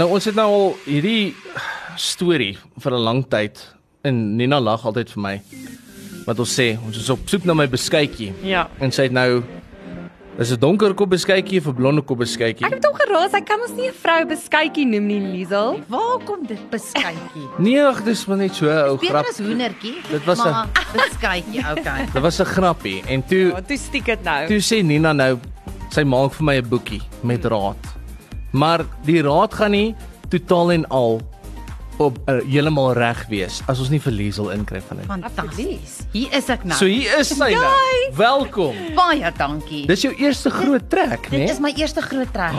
Nou ons het nou al hierdie storie vir 'n lang tyd en Nina lag altyd vir my. Wat ons sê, ons is op soek na my beskuitjie Ja. en sy het nou is 'n donker kop beskuitjie of 'n blonde kop Ek beskuitjie? het hom geraas, hy kan ons nie 'n vrou beskuitjie noem nie, Liesel. Waar kom dit beskuitjie? Nee, ag, dis maar net so 'n ou Beter grap. as hoendertjie. Dit was 'n- maar beskuitjie, okay. Dit was 'n grappie en toe toe stiek dit nou. toe sê Nina nou sy maak vir my 'n boekie met raad. Maar die raad gaan nie totaal en al op uh, heeltemal reg wees as ons nie vir Liesel inkry van dit. Fantasties. Hier is ek nou. So hier is sy nou. Welkom. baie dankie. Dis jou eerste groot trek, né? Dit is my eerste groot trek.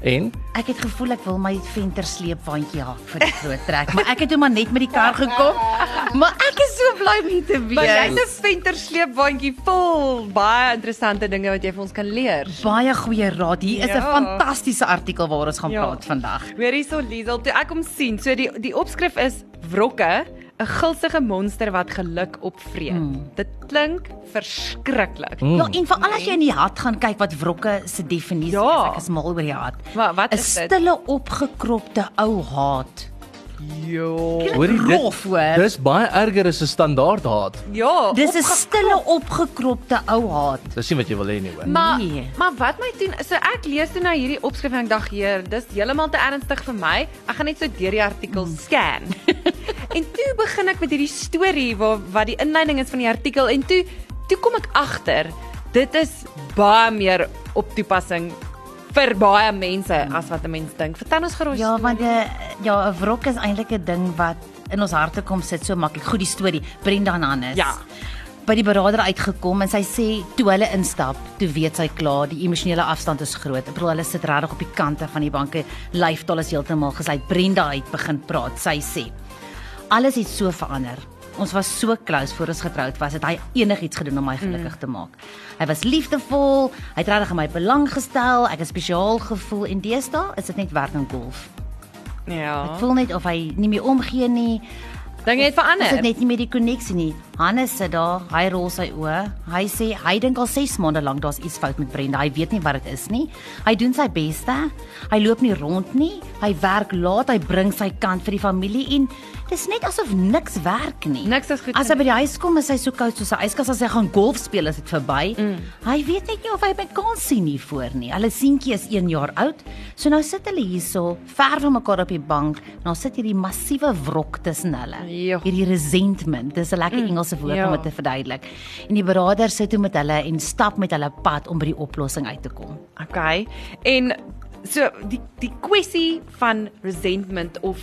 En Ek het gevoel ek wil my venter sleepwandjie haak vir die groot trek, maar ek het hom maar net met die kar gekom. Maar ek is so bly om hier te Maar wees. jy's 'n ventersleepwandjie vol baie interessante dinge wat jy vir ons kan leer. Baie goeie raad. Hier is 'n Ja. fantastiese artikel waaroor ons gaan Ja. praat vandag. Hoor hierso Liesel, toe ek hom sien, so die die opskrif is wrokke, 'n gulsige monster wat geluk opvreet. Hmm. Dit klink verskriklik. Ja, en veral as jy in die hart gaan kyk wat wrokke se definisie Ja. is, ek is mal oor die hart. Maar wat 'n is dit? Stille opgekropte ou haat. Jo. hoorie Grof, hoor. Dis baie erger as 'n standaard haat. Ja. Dis 'n stille opgekropte ou haat. Dis nie wat jy wil hê nie, hoor. Maar Nee. maar wat my doen, so ek lees toe nou hierdie opskrif en ek dink, "Heer, dis heeltemal te ernstig vir my. Ek gaan net so deur die artikel Mm. scan." en toe begin ek met hierdie storie waar wat die inleiding is van die artikel en toe toe kom ek agter, dit is baie meer op toepassing vir baie mense as wat 'n mens dink. Vertel ons gerus. Ja, want 'n ja, 'n wrok is eintlik 'n ding wat in ons harte kom sit so maklik. Goed, die storie Brenda Hannes. Ja. By die beraader uitgekom en sy sê toe hulle instap, toe weet sy klaar, die emosionele afstand is groot. Ek bedoel hulle sit regtig op die kante van die banke. Lyftaal is heeltemal gesluit. Brenda het begin praat. Sy sê: Alles het so verander. Ons was so close voor ons getroud was, het hy enigiets gedoen om my gelukkig te maak. Hy was liefdevol, hy het regtig in my belang gestel, ek het spesiaal gevoel en deesdae is dit net werk en golf. ja. Voel net of hy nie meer omgee nie. Dink jy het Is dit verander? net nie meer die koneksie nie. Hannes sit daar, hy rol sy oë. Hy sê hy dink al 6 maande lank daar's iets fout met Brenda. Hy weet nie wat dit is nie. Hy doen sy beste. Hy loop nie rond nie. Hy werk laat, hy bring sy kant vir die familie en dis net asof niks werk nie. Niks is goed As hy nie. by die huis kom, is hy so koud soos 'n yskas as hy gaan golf speel as dit verby. Mm. Hy weet net nie of hy met kans sien nie voor nie. Hulle seentjie is 1 jaar oud. So nou sit hulle hierso, ver van mekaar op die bank. Nou sit hierdie massiewe wrok tussen hulle. Jo. Hierdie resentment, dis 'n lekker Engelse woord ja. om dit te verduidelik. En die beraader sit toe met hulle en stap met hulle pad om by die oplossing uit te kom. Okay. En so die die kwessie van resentment of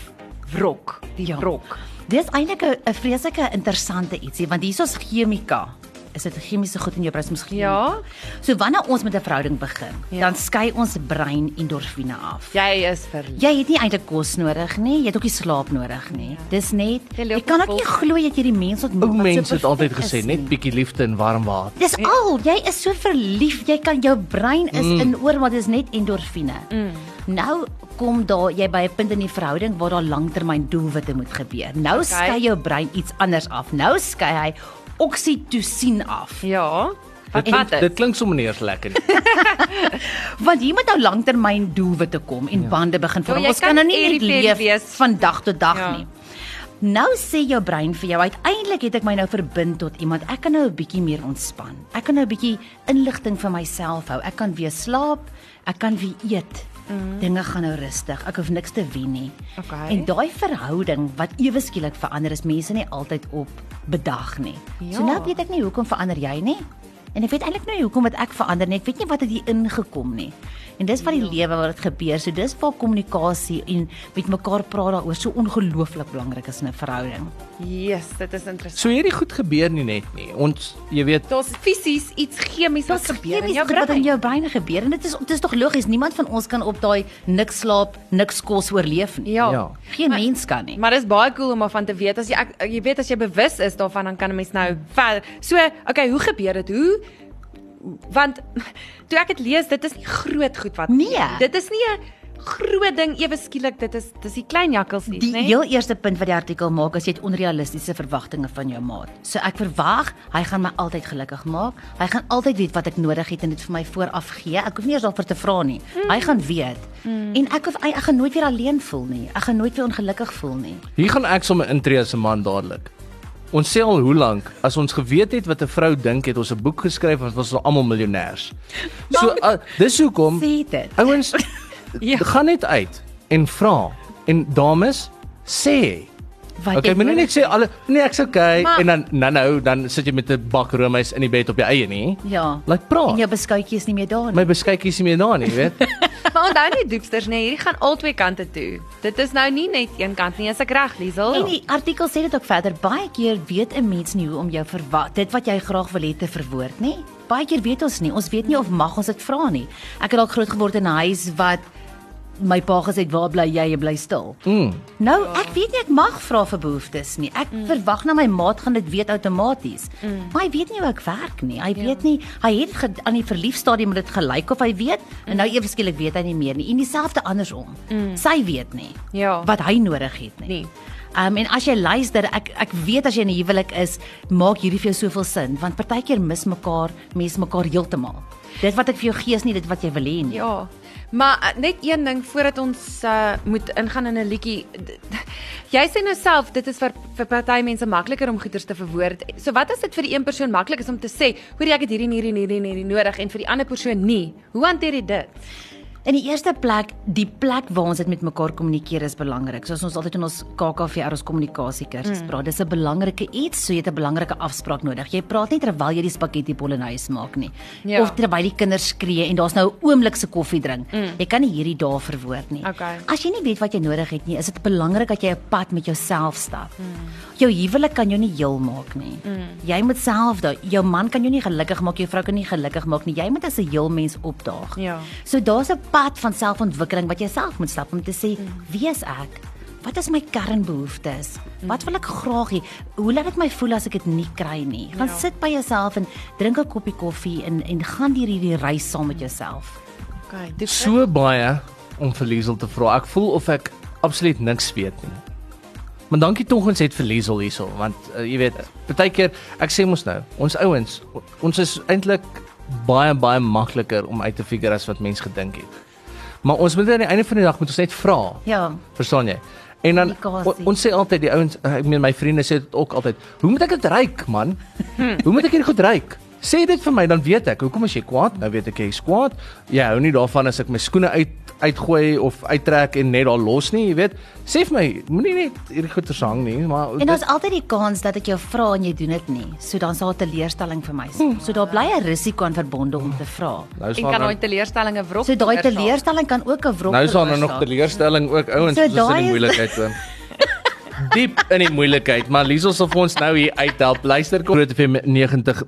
wrok, die Ja. wrok. Dis eintlik 'n 'n vreeslike interessante ietsie want hierso's chemika. Is dit chemiese goed in jou brein miskien? Ja. So wanneer ons met 'n verhouding begin, Ja. ja. dan skei ons brein endorfine af. Ja. Jy is verlief. Jy het nie eintlik kos nodig nie, jy het ook nie slaap nodig nie. Dis net Jy jy loop kan op ook nie wolke. glo dat jy die mens ontmoet Ou wat so mense het altyd perfek gesê is net nie. bietjie liefde en warm water. Dis al, jy is so verlief, jy kan jou brein is Nee. mm. in oor maar dis net endorfine. Mm. Nou kom daar jy by 'n punt in die verhouding waar daar langtermyn doelwitte moet gebeur. Nou okay. skei jou brein iets anders af. Nou skei hy oksitosien af. Ja. Wat Dit wat klink, is? dit klink sommer nie eens lekker nie. Want hier moet nou langtermyn doelwitte kom en ja. bande begin Ja, vorm. jy Ja, Ons kan kan nou nie net irritant leef wees. van dag tot dag Ja. ja. nie. Nou sê jou brein vir jou, uiteindelik het ek my nou verbind tot iemand. Ek kan nou 'n bietjie meer ontspan. Ek kan nou 'n bietjie inligting vir myself hou. Ek kan weer slaap, ek kan weer eet. Mm. Dinge gaan nou rustig. Ek hoef niks te wen nie. Mhm. Okay. En daai verhouding wat ewe skielik verander is mense nie altyd op bedag nie. Ja. So nou weet ek nie hoekom verander jy nie. En ek weet eintlik nou nie hoekom wat ek verander nie. Ek weet nie wat het hier ingekom nie. En dis Ja. wat die lewe wat dit gebeur. So dis waar kommunikasie en met mekaar praat daaroor so ongelooflik belangrik is in 'n verhouding. Yes, dit is interessant. So hierdie goed gebeur nie net nie. Ons jy weet Daar's fisies iets chemies wat Dit gebeur gebeur in jou wat in brein. jou brein gebeur en dit is dit is tog logies. Niemand van ons kan op daai niks slaap, niks kos oorleef nie. Ja. Ja. Geen maar, mens kan nie. Maar dis baie cool om daarvan te weet as jy ek, jy weet as jy bewus is daarvan dan kan 'n mens nou ver. So, okay, hoe gebeur dit? Hoe want toe ek dit lees, dit is nie groot goed wat Nee. Dit is nie 'n groot ding ewe skielik dit is dis die klein nee. jakkelsies, Die né? heel eerste punt wat die artikel maak is jy het onrealistiese verwagtinge van jou maat. So ek verwag hy gaan my altyd gelukkig maak. Hy gaan altyd weet wat ek nodig het en dit vir my vooraf gee. Ek hoef nie eens daarvoor te vra nie. Hy gaan weet. En ek hoef ek gaan nooit weer alleen voel nie. Ek gaan nooit weer ongelukkig voel nie. Hier gaan ek sommer intree as 'n man dadelik. Ons sê al hoe lank as ons geweet het wat 'n vrou dink het ons 'n boek geskryf want ons was almal miljonêers. So uh, dis hoekom Sê dit. ouens Ja. gaan net uit en vra en dames sê Wat Okay, jy moenie net nodig- sê alle nee, ek's okay Maar- en dan dan nou dan sit jy met 'n bak roomys in die bed op jou eie nie. Ja. Laat En jou praat. beskuitjie is nie meer daar nie. My beskikkie is nie meer daar nie, weet. Maar onthou net doepsters nê, hierdie gaan albei kante toe. Dit is nou nie net een kant nie, as ek reg, Liesel. En die artikel sê dit ook verder, baie keer weet 'n mens nie hoe om jou verwag dit wat jy graag wil hê te verwoord nie. Baie keer weet ons nie, ons weet nie of mag ons dit vra nie. Ek het dalk groot geword in 'n huis wat my pa gesê het, "Waar bly jy? Jy bly stil." Mm. Nou, ek weet nie ek mag vra vir behoeftes nie. Ek Mm. verwag na my maat gaan dit weet outomaties. Maar hy weet nie hoe ek werk nie. Hy Ja. weet nie, hy het ge- aan die verlief stadium het dit gelyk of hy weet Mm. en nou ewe skielik weet hy nie meer nie. En dieselfde andersom. Sy weet nie Ja. wat hy nodig het nie. Nee. Um en as jy luister, ek ek weet as jy in 'n huwelik is, maak hierdie vir jou soveel sin want partykeer mis mekaar, mense mekaar heeltemal. Dit wat ek vir jou gee is nie dit wat jy wil hê nie. Ja. Maar eh, net een ding voordat ons uh, moet ingaan in 'n liedjie. D- d- Jy sê nou self dit is vir vir party mense makliker om goeders te verwoord. So wat as dit vir die een persoon maklik is om te sê, hoor jy ek het hierdie en hierdie en hierdie en hierdie nodig en vir die ander persoon nie. Hoe hanteer jy dit? In die eerste plek, die plek waar ons dit met mekaar kommunikeer is belangrik. Soos ons altyd in ons KKVR ons kommunikasiekursus mm. praat, dis 'n belangrike iets, so jy het 'n belangrike afspraak nodig. Jy praat nie terwyl jy die spaghetti bolognese maak nie, Ja. of terwyl die kinders skree en daar's nou 'n oomblik se koffie drink. Mm. Jy kan nie hierdie dae verwoord nie. Okay. As jy nie weet wat jy nodig het nie, is dit belangrik dat jy 'n pad met jouself stap. Hmm. Jou huwelik kan jou nie heel maak nie. Jy moet self daai jou man kan jou nie gelukkig maak, jou vrou kan nie gelukkig maak nie. Jy moet as 'n heel mens opdaag. Ja. So daar's 'n pad van selfontwikkeling wat jy self moet stap om te sê, Hmm. wie is ek? Wat is my kernbehoeftes? Hmm. Wat wil ek graag hê? Hoe laat dit my voel as ek dit nie kry nie? Gaan Ja. sit by jouself en drink 'n koppie koffie en en gaan deur hierdie reis saam met jouself. Okay, dit so baie om vir Liesel te vra. Ek voel of ek absoluut niks weet nie. Maar dankie tog ons het vir Liesel hierso, want uh, jy weet, baie keer ek sê mos nou, ons ouens, o- ons is eintlik baie baie makliker om uit te figure as wat mens gedink het. Maar ons moet aan die einde van die dag moet ons net vra. Ja. Verstaan jy? En dan Kommunikasie. on, ons sê altyd die ouens, eh, ek meen my vriende sê dit ook altyd, hoe moet ek dit ryk man? hoe moet ek hierdie goed ryk? Sê dit vir my dan weet ek. Hoekom as jy kwaad? Nou weet ek jy's kwaad. Jy hou nie daarvan as ek my skoene uit uitgooi of uittrek en net daar los nie, jy weet. Sê vir my, moenie net hierdie goeters hang nie, maar En dit- daar's altyd die kans dat ek jou vra en jy doen dit nie. So dan sal 'n teleurstelling vir my Hmm. wees. So daar bly 'n risiko aan verbonde om te vra. nou is en daar kan nou- daai teleurstellinge wrok. So daai veroorsaak. teleurstelling kan ook 'n wrok Nou is daar nou nog veroorsaak. teleurstelling ook ouens, So ons is in daai die is- moeilikheid oom. Diep in die moeilikheid, maar Liesel sal vir ons nou hier uithelp. Luister kom Groot FM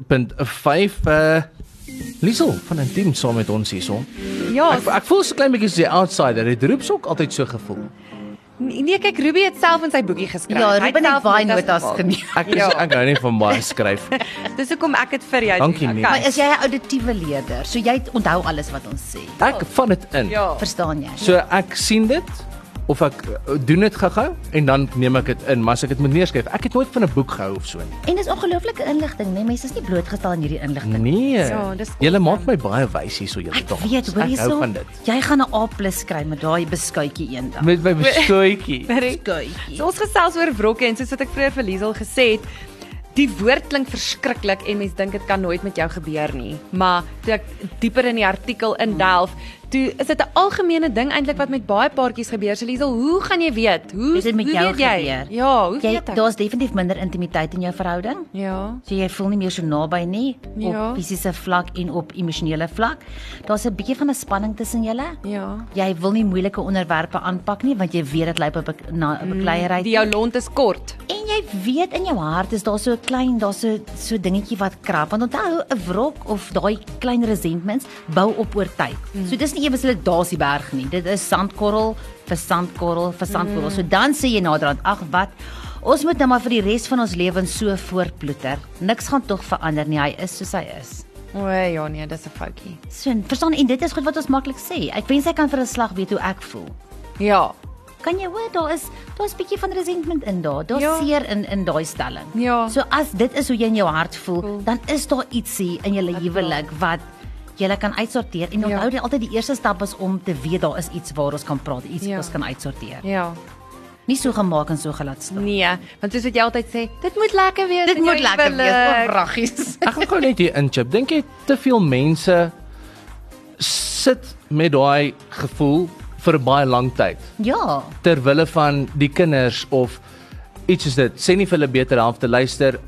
90.5 uh Liesel van Intiem saam met ons hierson. Oh. Ja, Ek ek voel so klein bietjie so die outsider. Dit roeps ook altyd so gevoel. nee kyk Ruby het self in sy boekie geskryf. Ja, Hy Ruben het self baie notas notas gemaak. geneem. Ek is, Ja. ek hou nie van baie skryf. Dis hoekom ek dit vir jou Dankie, doen. nee. Maar is jy 'n auditiewe leerder? So jy onthou alles wat ons sê. Ek vat dit in. Ja. Verstaan jy? So ek sien dit of ek uh, doen dit gou-gou en dan neem ek dit in, maar as ek dit moet neerskryf, ek het nooit van 'n boek gehou of so nie. En dis ongelooflike inligting, né? Nee, mense is nie blootgestel aan hierdie inligting. Nee. Ja, dis awesome. Julle maak my baie wys hierso julle Ek dames. weet, hoor Nee, Ek hou hierso. van dit. Jy gaan 'n A+ kry met daai beskuitjie eendag. Met my bestoetjie. Correct. Beskuitjie. So ons gesels oor wrokke en soos wat ek vroeër vir Liesel gesê het, die woord klink verskriklik en mens dink dit kan nooit met jou gebeur nie. Maar toe ek dieper in die artikel indelf, toe is dit 'n algemene ding eintlik wat met baie paartjies gebeur. So Liesel, hoe gaan jy weet? Hoe Is dit met hoe jou weet jy? gebeur? Ja, hoe Jy weet ek? daar's definitief minder intimiteit in jou verhouding. Ja. So jy voel nie meer so naby nie op Ja. fisiese vlak en op emosionele vlak. Daar's 'n bietjie van 'n spanning tussen julle. Ja. Jy wil nie moeilike onderwerpe aanpak nie want jy weet dit lei op 'n na 'n bekleierery. Mm, Die jou lont is kort. En jy weet in jou hart is daar so 'n klein, daar's so so dingetjie wat krap. Want onthou, 'n wrok of daai klein resentments bou op oor tyd. Mm. So dis nie ewe skielik daar's die berg nie. Dit is sandkorrel vir sandkorrel vir sandkorrel. Mm. So dan sê jy naderhand, ag wat Ons moet nou maar vir die res van ons lewens so voortploeter. Niks gaan tog verander nie. Hy is soos hy is. O ja nee, dis 'n foutjie. So, verstaan en dit is goed wat ons maklik sê. Ek wens ek kan vir 'n slag weet hoe ek voel. Ja. Kan jy hoor daar is daar's bietjie van resentment in daar. Daar's Ja. seer in in daai stelling. Ja. So as dit is hoe jy in jou hart voel, Voel. dan is daar ietsie in julle huwelik wat jy kan uitsorteer. En Ja. onthou ja. altyd die eerste stap is om te weet daar is iets waar ons kan praat, iets Ja. wat ons kan uitsorteer. Ja. Nie so gemaak en so gelaat staan. Nee, want soos wat jy altyd sê, dit moet lekker wees. Dit in jou moet lekker wees, huwelik. o, raggies. Ek wil gou net hier inchip. Dink jy te veel mense sit met daai gevoel vir 'n baie lang tyd Nee. Ja. ter wille van die kinders of iets soos dit. Sê nie vir hulle beter half te luister.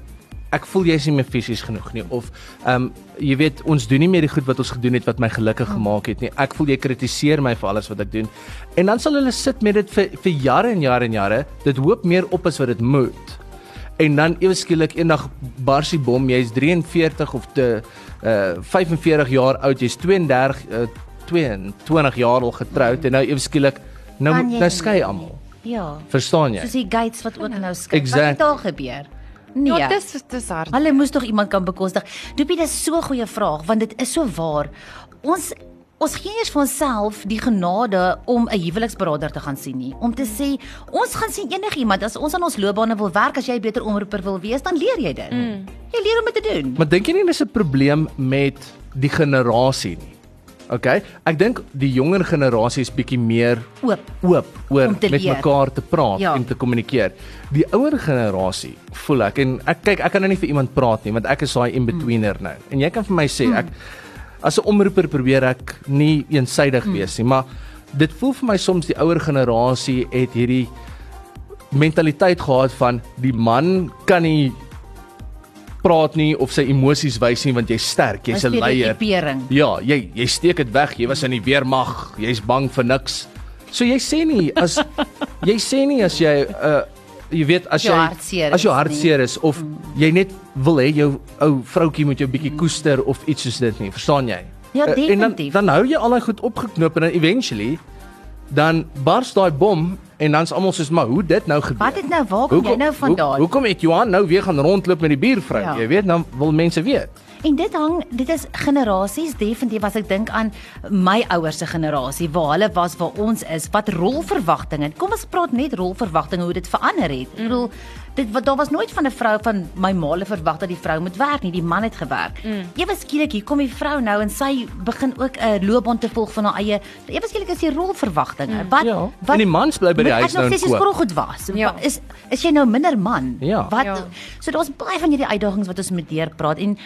Ek voel jy's nie meer fisies genoeg nie of ehm um, jy weet ons doen nie meer die goed wat ons gedoen het wat my gelukkig Hmm. gemaak het nie. Ek voel jy kritiseer my vir alles wat ek doen. En dan sal hulle sit met dit vir vir jare en jare en jare. Dit hoop meer op as wat dit moet. En dan ewe skielik eendag bars die bom, jy's 43 of te uh 45 jaar oud, jy's 32 uh 22 jaar al getroud en nou ewe skielik nou Kan Hmm. jy nou nie skei meer almal. Ja. Verstaan jy? Soos die gates wat ook nou skei. Exact. Wat het daar gebeur? Nee. Ja, dis dis hard. Hulle moes tog iemand kan bekostig. Doopie, dis so 'n goeie vraag want dit is so waar. Ons ons gee eers vir onsself die genade om 'n huweliksberader te gaan sien nie. Om te sê, ons gaan sien enigiemand as ons aan ons loopbane wil werk, as jy 'n beter omroeper wil wees, dan leer jy dit. Mm. Jy leer om dit te doen. Maar dink jy nie dis 'n probleem met die generasie nie? OK? Ek dink die jonger generasie is bietjie meer Oop. oop oor Om te met leer. mekaar te praat Ja. en te kommunikeer. Die ouer generasie voel ek en ek kyk ek kan nou nie vir iemand praat nie want ek is daai in-betweener nou. En jy kan vir my sê ek as 'n omroeper probeer ek nie eensydig Mm. wees nie, maar dit voel vir my soms die ouer generasie het hierdie mentaliteit gehad van die man kan nie praat nie of sy emosies wys nie want jy's sterk, jy's 'n leier. Pering. Ja, jy jy steek dit weg. Jy was in die weermag. Jy's bang vir niks. So jy sê nie as jy sê nie as jy uh jy weet as Jou jy hart seer as jou is hart nie. Mm. seer is of jy net wil hê jou ou vroutjie moet jou bietjie koester of iets soos dit nie. Verstaan jy? Ja, Uh, definitief. En dan dan hou jy al daai goed opgeknoop en dan eventually dan bars daai bom en dan's almal soos maar hoe dit nou gebeur. Wat het nou waar kom jy nou vandaan? Hoe, hoekom het Johan nou weer gaan rondloop met die buurvrou? Ja. Ja. Jy weet, dan wil mense weet. En dit hang, dit is generasies definitief as ek dink aan my ouers se generasie waar hulle was waar ons is, wat rolverwagtinge. Kom ons praat net rolverwagtinge hoe dit verander het. Ek bedoel dit wat daar was nooit van 'n vrou van my maale verwag dat die vrou moet werk nie, die man het gewerk. Mm. Ewe skielik hier kom die vrou nou en sy begin ook 'n loopbaan te volg van haar eie. Ewe skielik is die rolverwagtinge. Wat Ja. wat En die mans bly by die moet huis nou Ek en nog sê koop. jy goed was. Ja. Ja. Is is jy nou minder man? Ja. Wat Ja. So daar's baie van hierdie uitdagings wat ons moet deurpraat en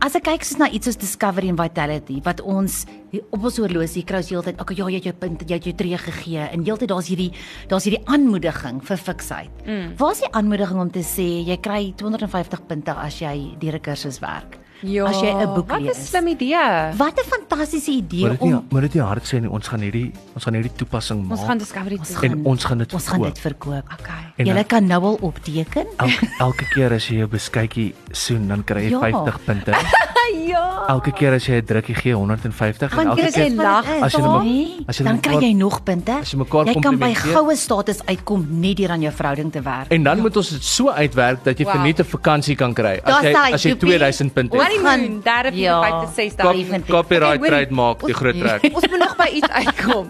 as ek kyk soos na iets soos Discovery and Vitality wat ons hier op ons horlosie kry ons heeltyd, okay, ja, jy het jou punt, jy het jou tree gegee en heeltyd daar's hierdie daar's hierdie aanmoediging vir fiksheid. Mm. Waar's die aanmoediging om te sê jy kry 250 punte as jy deur 'n kursus werk? as jy 'n boek Ja. wat lees. 'n slim idee. Wat 'n fantastiese idee Moet dit nie om moet Ja, dit nie hard sê nie. Ons gaan hierdie ons gaan hierdie toepassing maak. Ons gaan Discovery toe. en ons gaan dit ons gaan dit verkoop. verkoop. Okay. En Jy dan- kan nou al opteken. Elke, elke keer as jy jou beskuitjie soen, dan kry jy ja. Ja. 50 punte. Ja. Elke keer as jy 'n drukkie gee, 150 en Want elke dit is keer jy wat lag, dit is. as jy nou- Nee, as jy nou dan kry mekaar- jy nog punte. as jy mekaar jy kan by komplimenteer- goue status uitkom net deur aan jou verhouding te werk. en dan moet ons dit so uitwerk dat jy wow. Wow. verniet 'n vakansie kan kry as Daar's jy hy, as jy Joepie. 2000 punte Ons het. Honeymoon, gaan- daar op die Ja. 5 tot 6 Kop- dae. Definitief. Copyright Okay, hoorie. trademark die groot trek. Ons moet nog by iets uitkom.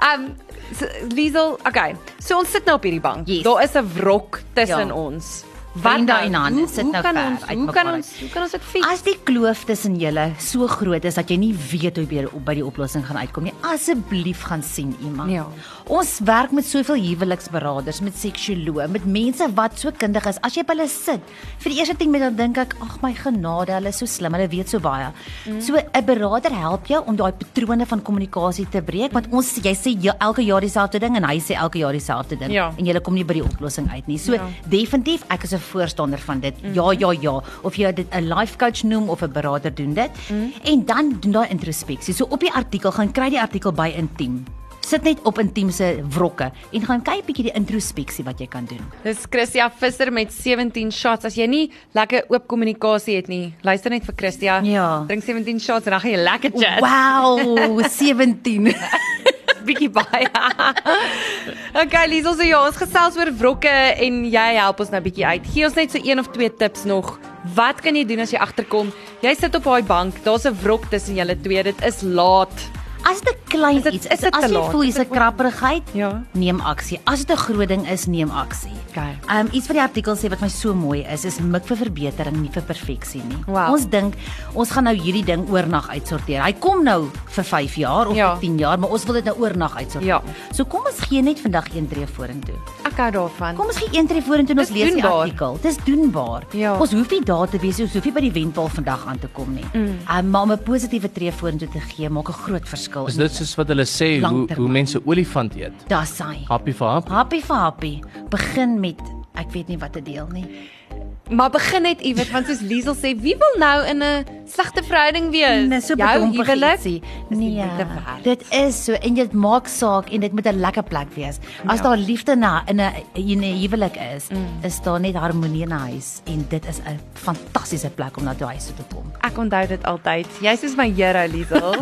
Um so, Liesel, okay. So ons sit nou op hierdie bank. Yes. Daar is 'n wrok tussen Ja. ons. Vriende nou? en hande Hoe- sit hoe nou kan ver ons, uit Hoe kan mekaar ons hoe kan ons dit fix? As die kloof tussen julle so groot is dat jy nie weet hoe jy by die oplossing gaan uitkom nie, asseblief gaan sien iemand. Ja. Ons werk met soveel huweliksberaders, met seksioloë, met mense wat so kundig is. As jy by hulle sit, vir die eerste 10 minute dan dink ek, ag my genade, hulle is so slim, hulle weet so baie. Mm. So 'n beraader help jou om daai patrone van kommunikasie te breek, want ons jy sê jy, elke jaar dieselfde ding en hy sê elke jaar dieselfde ding Ja. en jy kom nie by die oplossing uit nie. So ja. definitief, ek is 'n voorstander van dit. Mhm. Mm. Ja, ja, ja, of jy dit 'n life coach noem of 'n beraader doen dit. Mhm. Mm. En dan doen daai introspeksie. So op die artikel gaan kry die artikel by intiem. Sit net op intiem se wrokke en gaan kyk bietjie die introspeksie wat jy kan doen. Dis Christia Visser met 17 shots. As jy nie lekker oop kommunikasie het nie, luister net vir Christia. Ja. Drink 17 shots en dan gaan jy lekker chat. Wow, 17. bietjie baie. Ja. okay, Liesel, so ja, ons gesels oor wrokke en jy help ons nou bietjie uit. Gee ons net so een of twee tips nog Wat kan jy doen as jy agterkom? Jy sit op daai bank, daar's 'n wrok tussen julle twee. Dit is laat. As dit 'n klein Is dit- iets is dit as te jy laat? voel jy's 'n krapperigheid, Ja. neem aksie. As dit 'n groot ding is, neem aksie. Okay. Um iets wat die artikel sê wat my so mooi is, is mik vir verbetering, nie vir perfeksie nie. Wow. Ons dink ons gaan nou hierdie ding oornag uitsorteer. Hy kom nou vir 5 jaar of Ja. vir 10 jaar, maar ons wil dit nou oornag uitsorteer. Ja. So kom ons gee net vandag een tree vorentoe. Ek hou daarvan. Kom ons gee een tree vorentoe en ons Dis lees die doenbaar. artikel. Dis doenbaar. Ja. Ons hoef nie daar te wees, ons hoef nie by die wendpaal vandag aan te kom nie. Mm. Um, maar om 'n positiewe tree vorentoe te gee, maak 'n groot verskil. Is dit soos wat hulle sê hoe Langtermyn. hoe mense olifant eet? Daar's hy. Happy vir happy. Happy vir happy. Begin met ek weet nie wat te deel nie. Maar begin net iewers want soos Liesel sê, wie wil nou in 'n slegte verhouding wees? Dis so Jou bedompig huwelik ietsie. is nie Nee. moeite werd. Dit is so en dit maak saak en dit moet 'n lekker plek wees. Ja. As daar liefde na in 'n in 'n huwelik is, Mm. is daar net harmonie in 'n huis en dit is 'n fantastiese plek om na toe huis toe te kom. Ek onthou dit altyd. Jy's soos my hero, Liesel.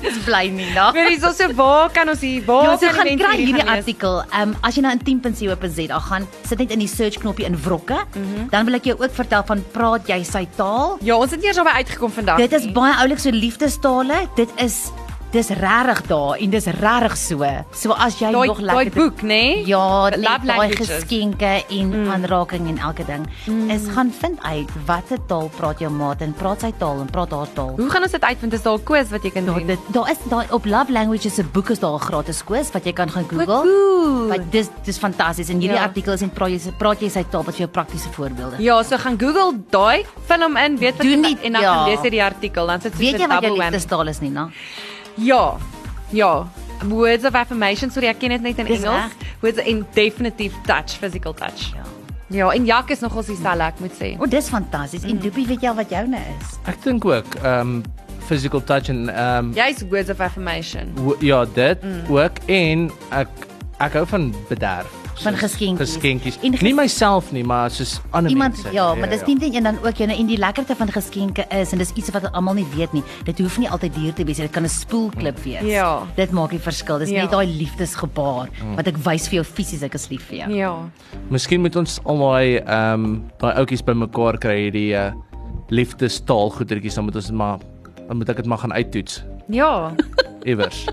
Dis bly nie daar. Vir Liesel so waar kan ons hier? Waar Ja, so kan die Ja, gaan mense kry hierdie gaan lees? artikel. Ehm um, as jy nou in 10.co.za gaan, sit net in die search knoppie in wrokke, mm Mhm. -hmm. dan wil ek jou ook vertel van praat jy sy taal? Ja, ons het nie eers daarby uitgekom vandag. Dit is nie. baie oulik so liefdestale. Dit is dis regtig daar en dis regtig so. So as jy daai nog daai lekker boek, nê? Ja, net Love daai Languages. geskenke en mm. aanraking en elke ding. Mm. Is gaan vind uit watter taal praat jou maat en praat sy taal en praat haar taal. Hoe gaan ons dit uitvind? Is daar 'n quiz wat jy kan Daar doen? Ja, dit daar is daai op Love Languages se boek is daar 'n gratis koers wat jy kan gaan Google. Cool. Wat dis dis fantasties en hierdie ja. Ja. artikel is en praat jy praat jy sy taal wat vir jou praktiese voorbeelde. Ja, so gaan Google daai, vul hom in, weet wat Doen jy- dit, en dan ja. gaan lees jy die artikel, dan sit Weet soos jy 'n wat jou double whammy. liefdestaal is nie, na? Ja. Ja. Words of affirmation, sorry, ek ken dit net in Dis Engels. Words in definitive touch, physical touch. Ja. Ja, en Jak is nogals dieselfde, ek moet sê. O, dis fantasties. Mm. En Doopie, weet jy al wat joune is? Ek dink ook ehm um, physical touch en ehm um, Jy's words of affirmation. wo- ja, dit Mm. ook en ek ek hou van bederf. Van Soos geskenkies. Geskenkies. En ges- nie myself nie, maar soos ander Iemand mense. ja, maar dis nie net een dan ook joune en die lekkerte van geskenke is en dis iets wat almal nie weet nie. Dit hoef nie altyd duur te wees nie. Dit kan 'n spoelklip Mm. wees. Ja. Dit maak die verskil. Dis Ja. net daai liefdesgebaar Mm. wat ek wys vir jou fisies ek is lief vir jou. Ja. Miskien moet ons al daai ehm um, daai ouetjies bymekaar kry hierdie uh, liefdestaal goedertjies dan moet ons dit maar dan moet ek dit maar gaan uittoets Ja. iewers.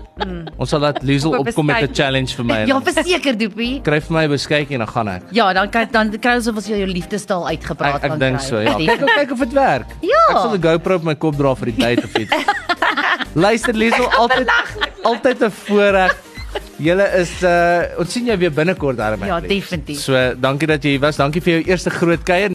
Ons sal laat Liesel Op 'n opkom met 'n beskuitjie. challenge vir my. en Mm. Ja, dan verseker Doopie. Kry vir my 'n beskuitjie en dan gaan ek. Ja, dan kan dan kry ons of ons jou liefdestaal uitgepraat Ek, ek dink kry. so ja. Kyk of kyk of dit werk. Ja. Ek sal 'n GoPro op my kop dra vir die tyd of iets. Luister Liesel altyd altyd 'n voorreg. Julle is uh ons sien jou weer binnekort daarmee. Ja, definitief. So, dankie dat jy hier was. Dankie vir jou eerste groot kuier.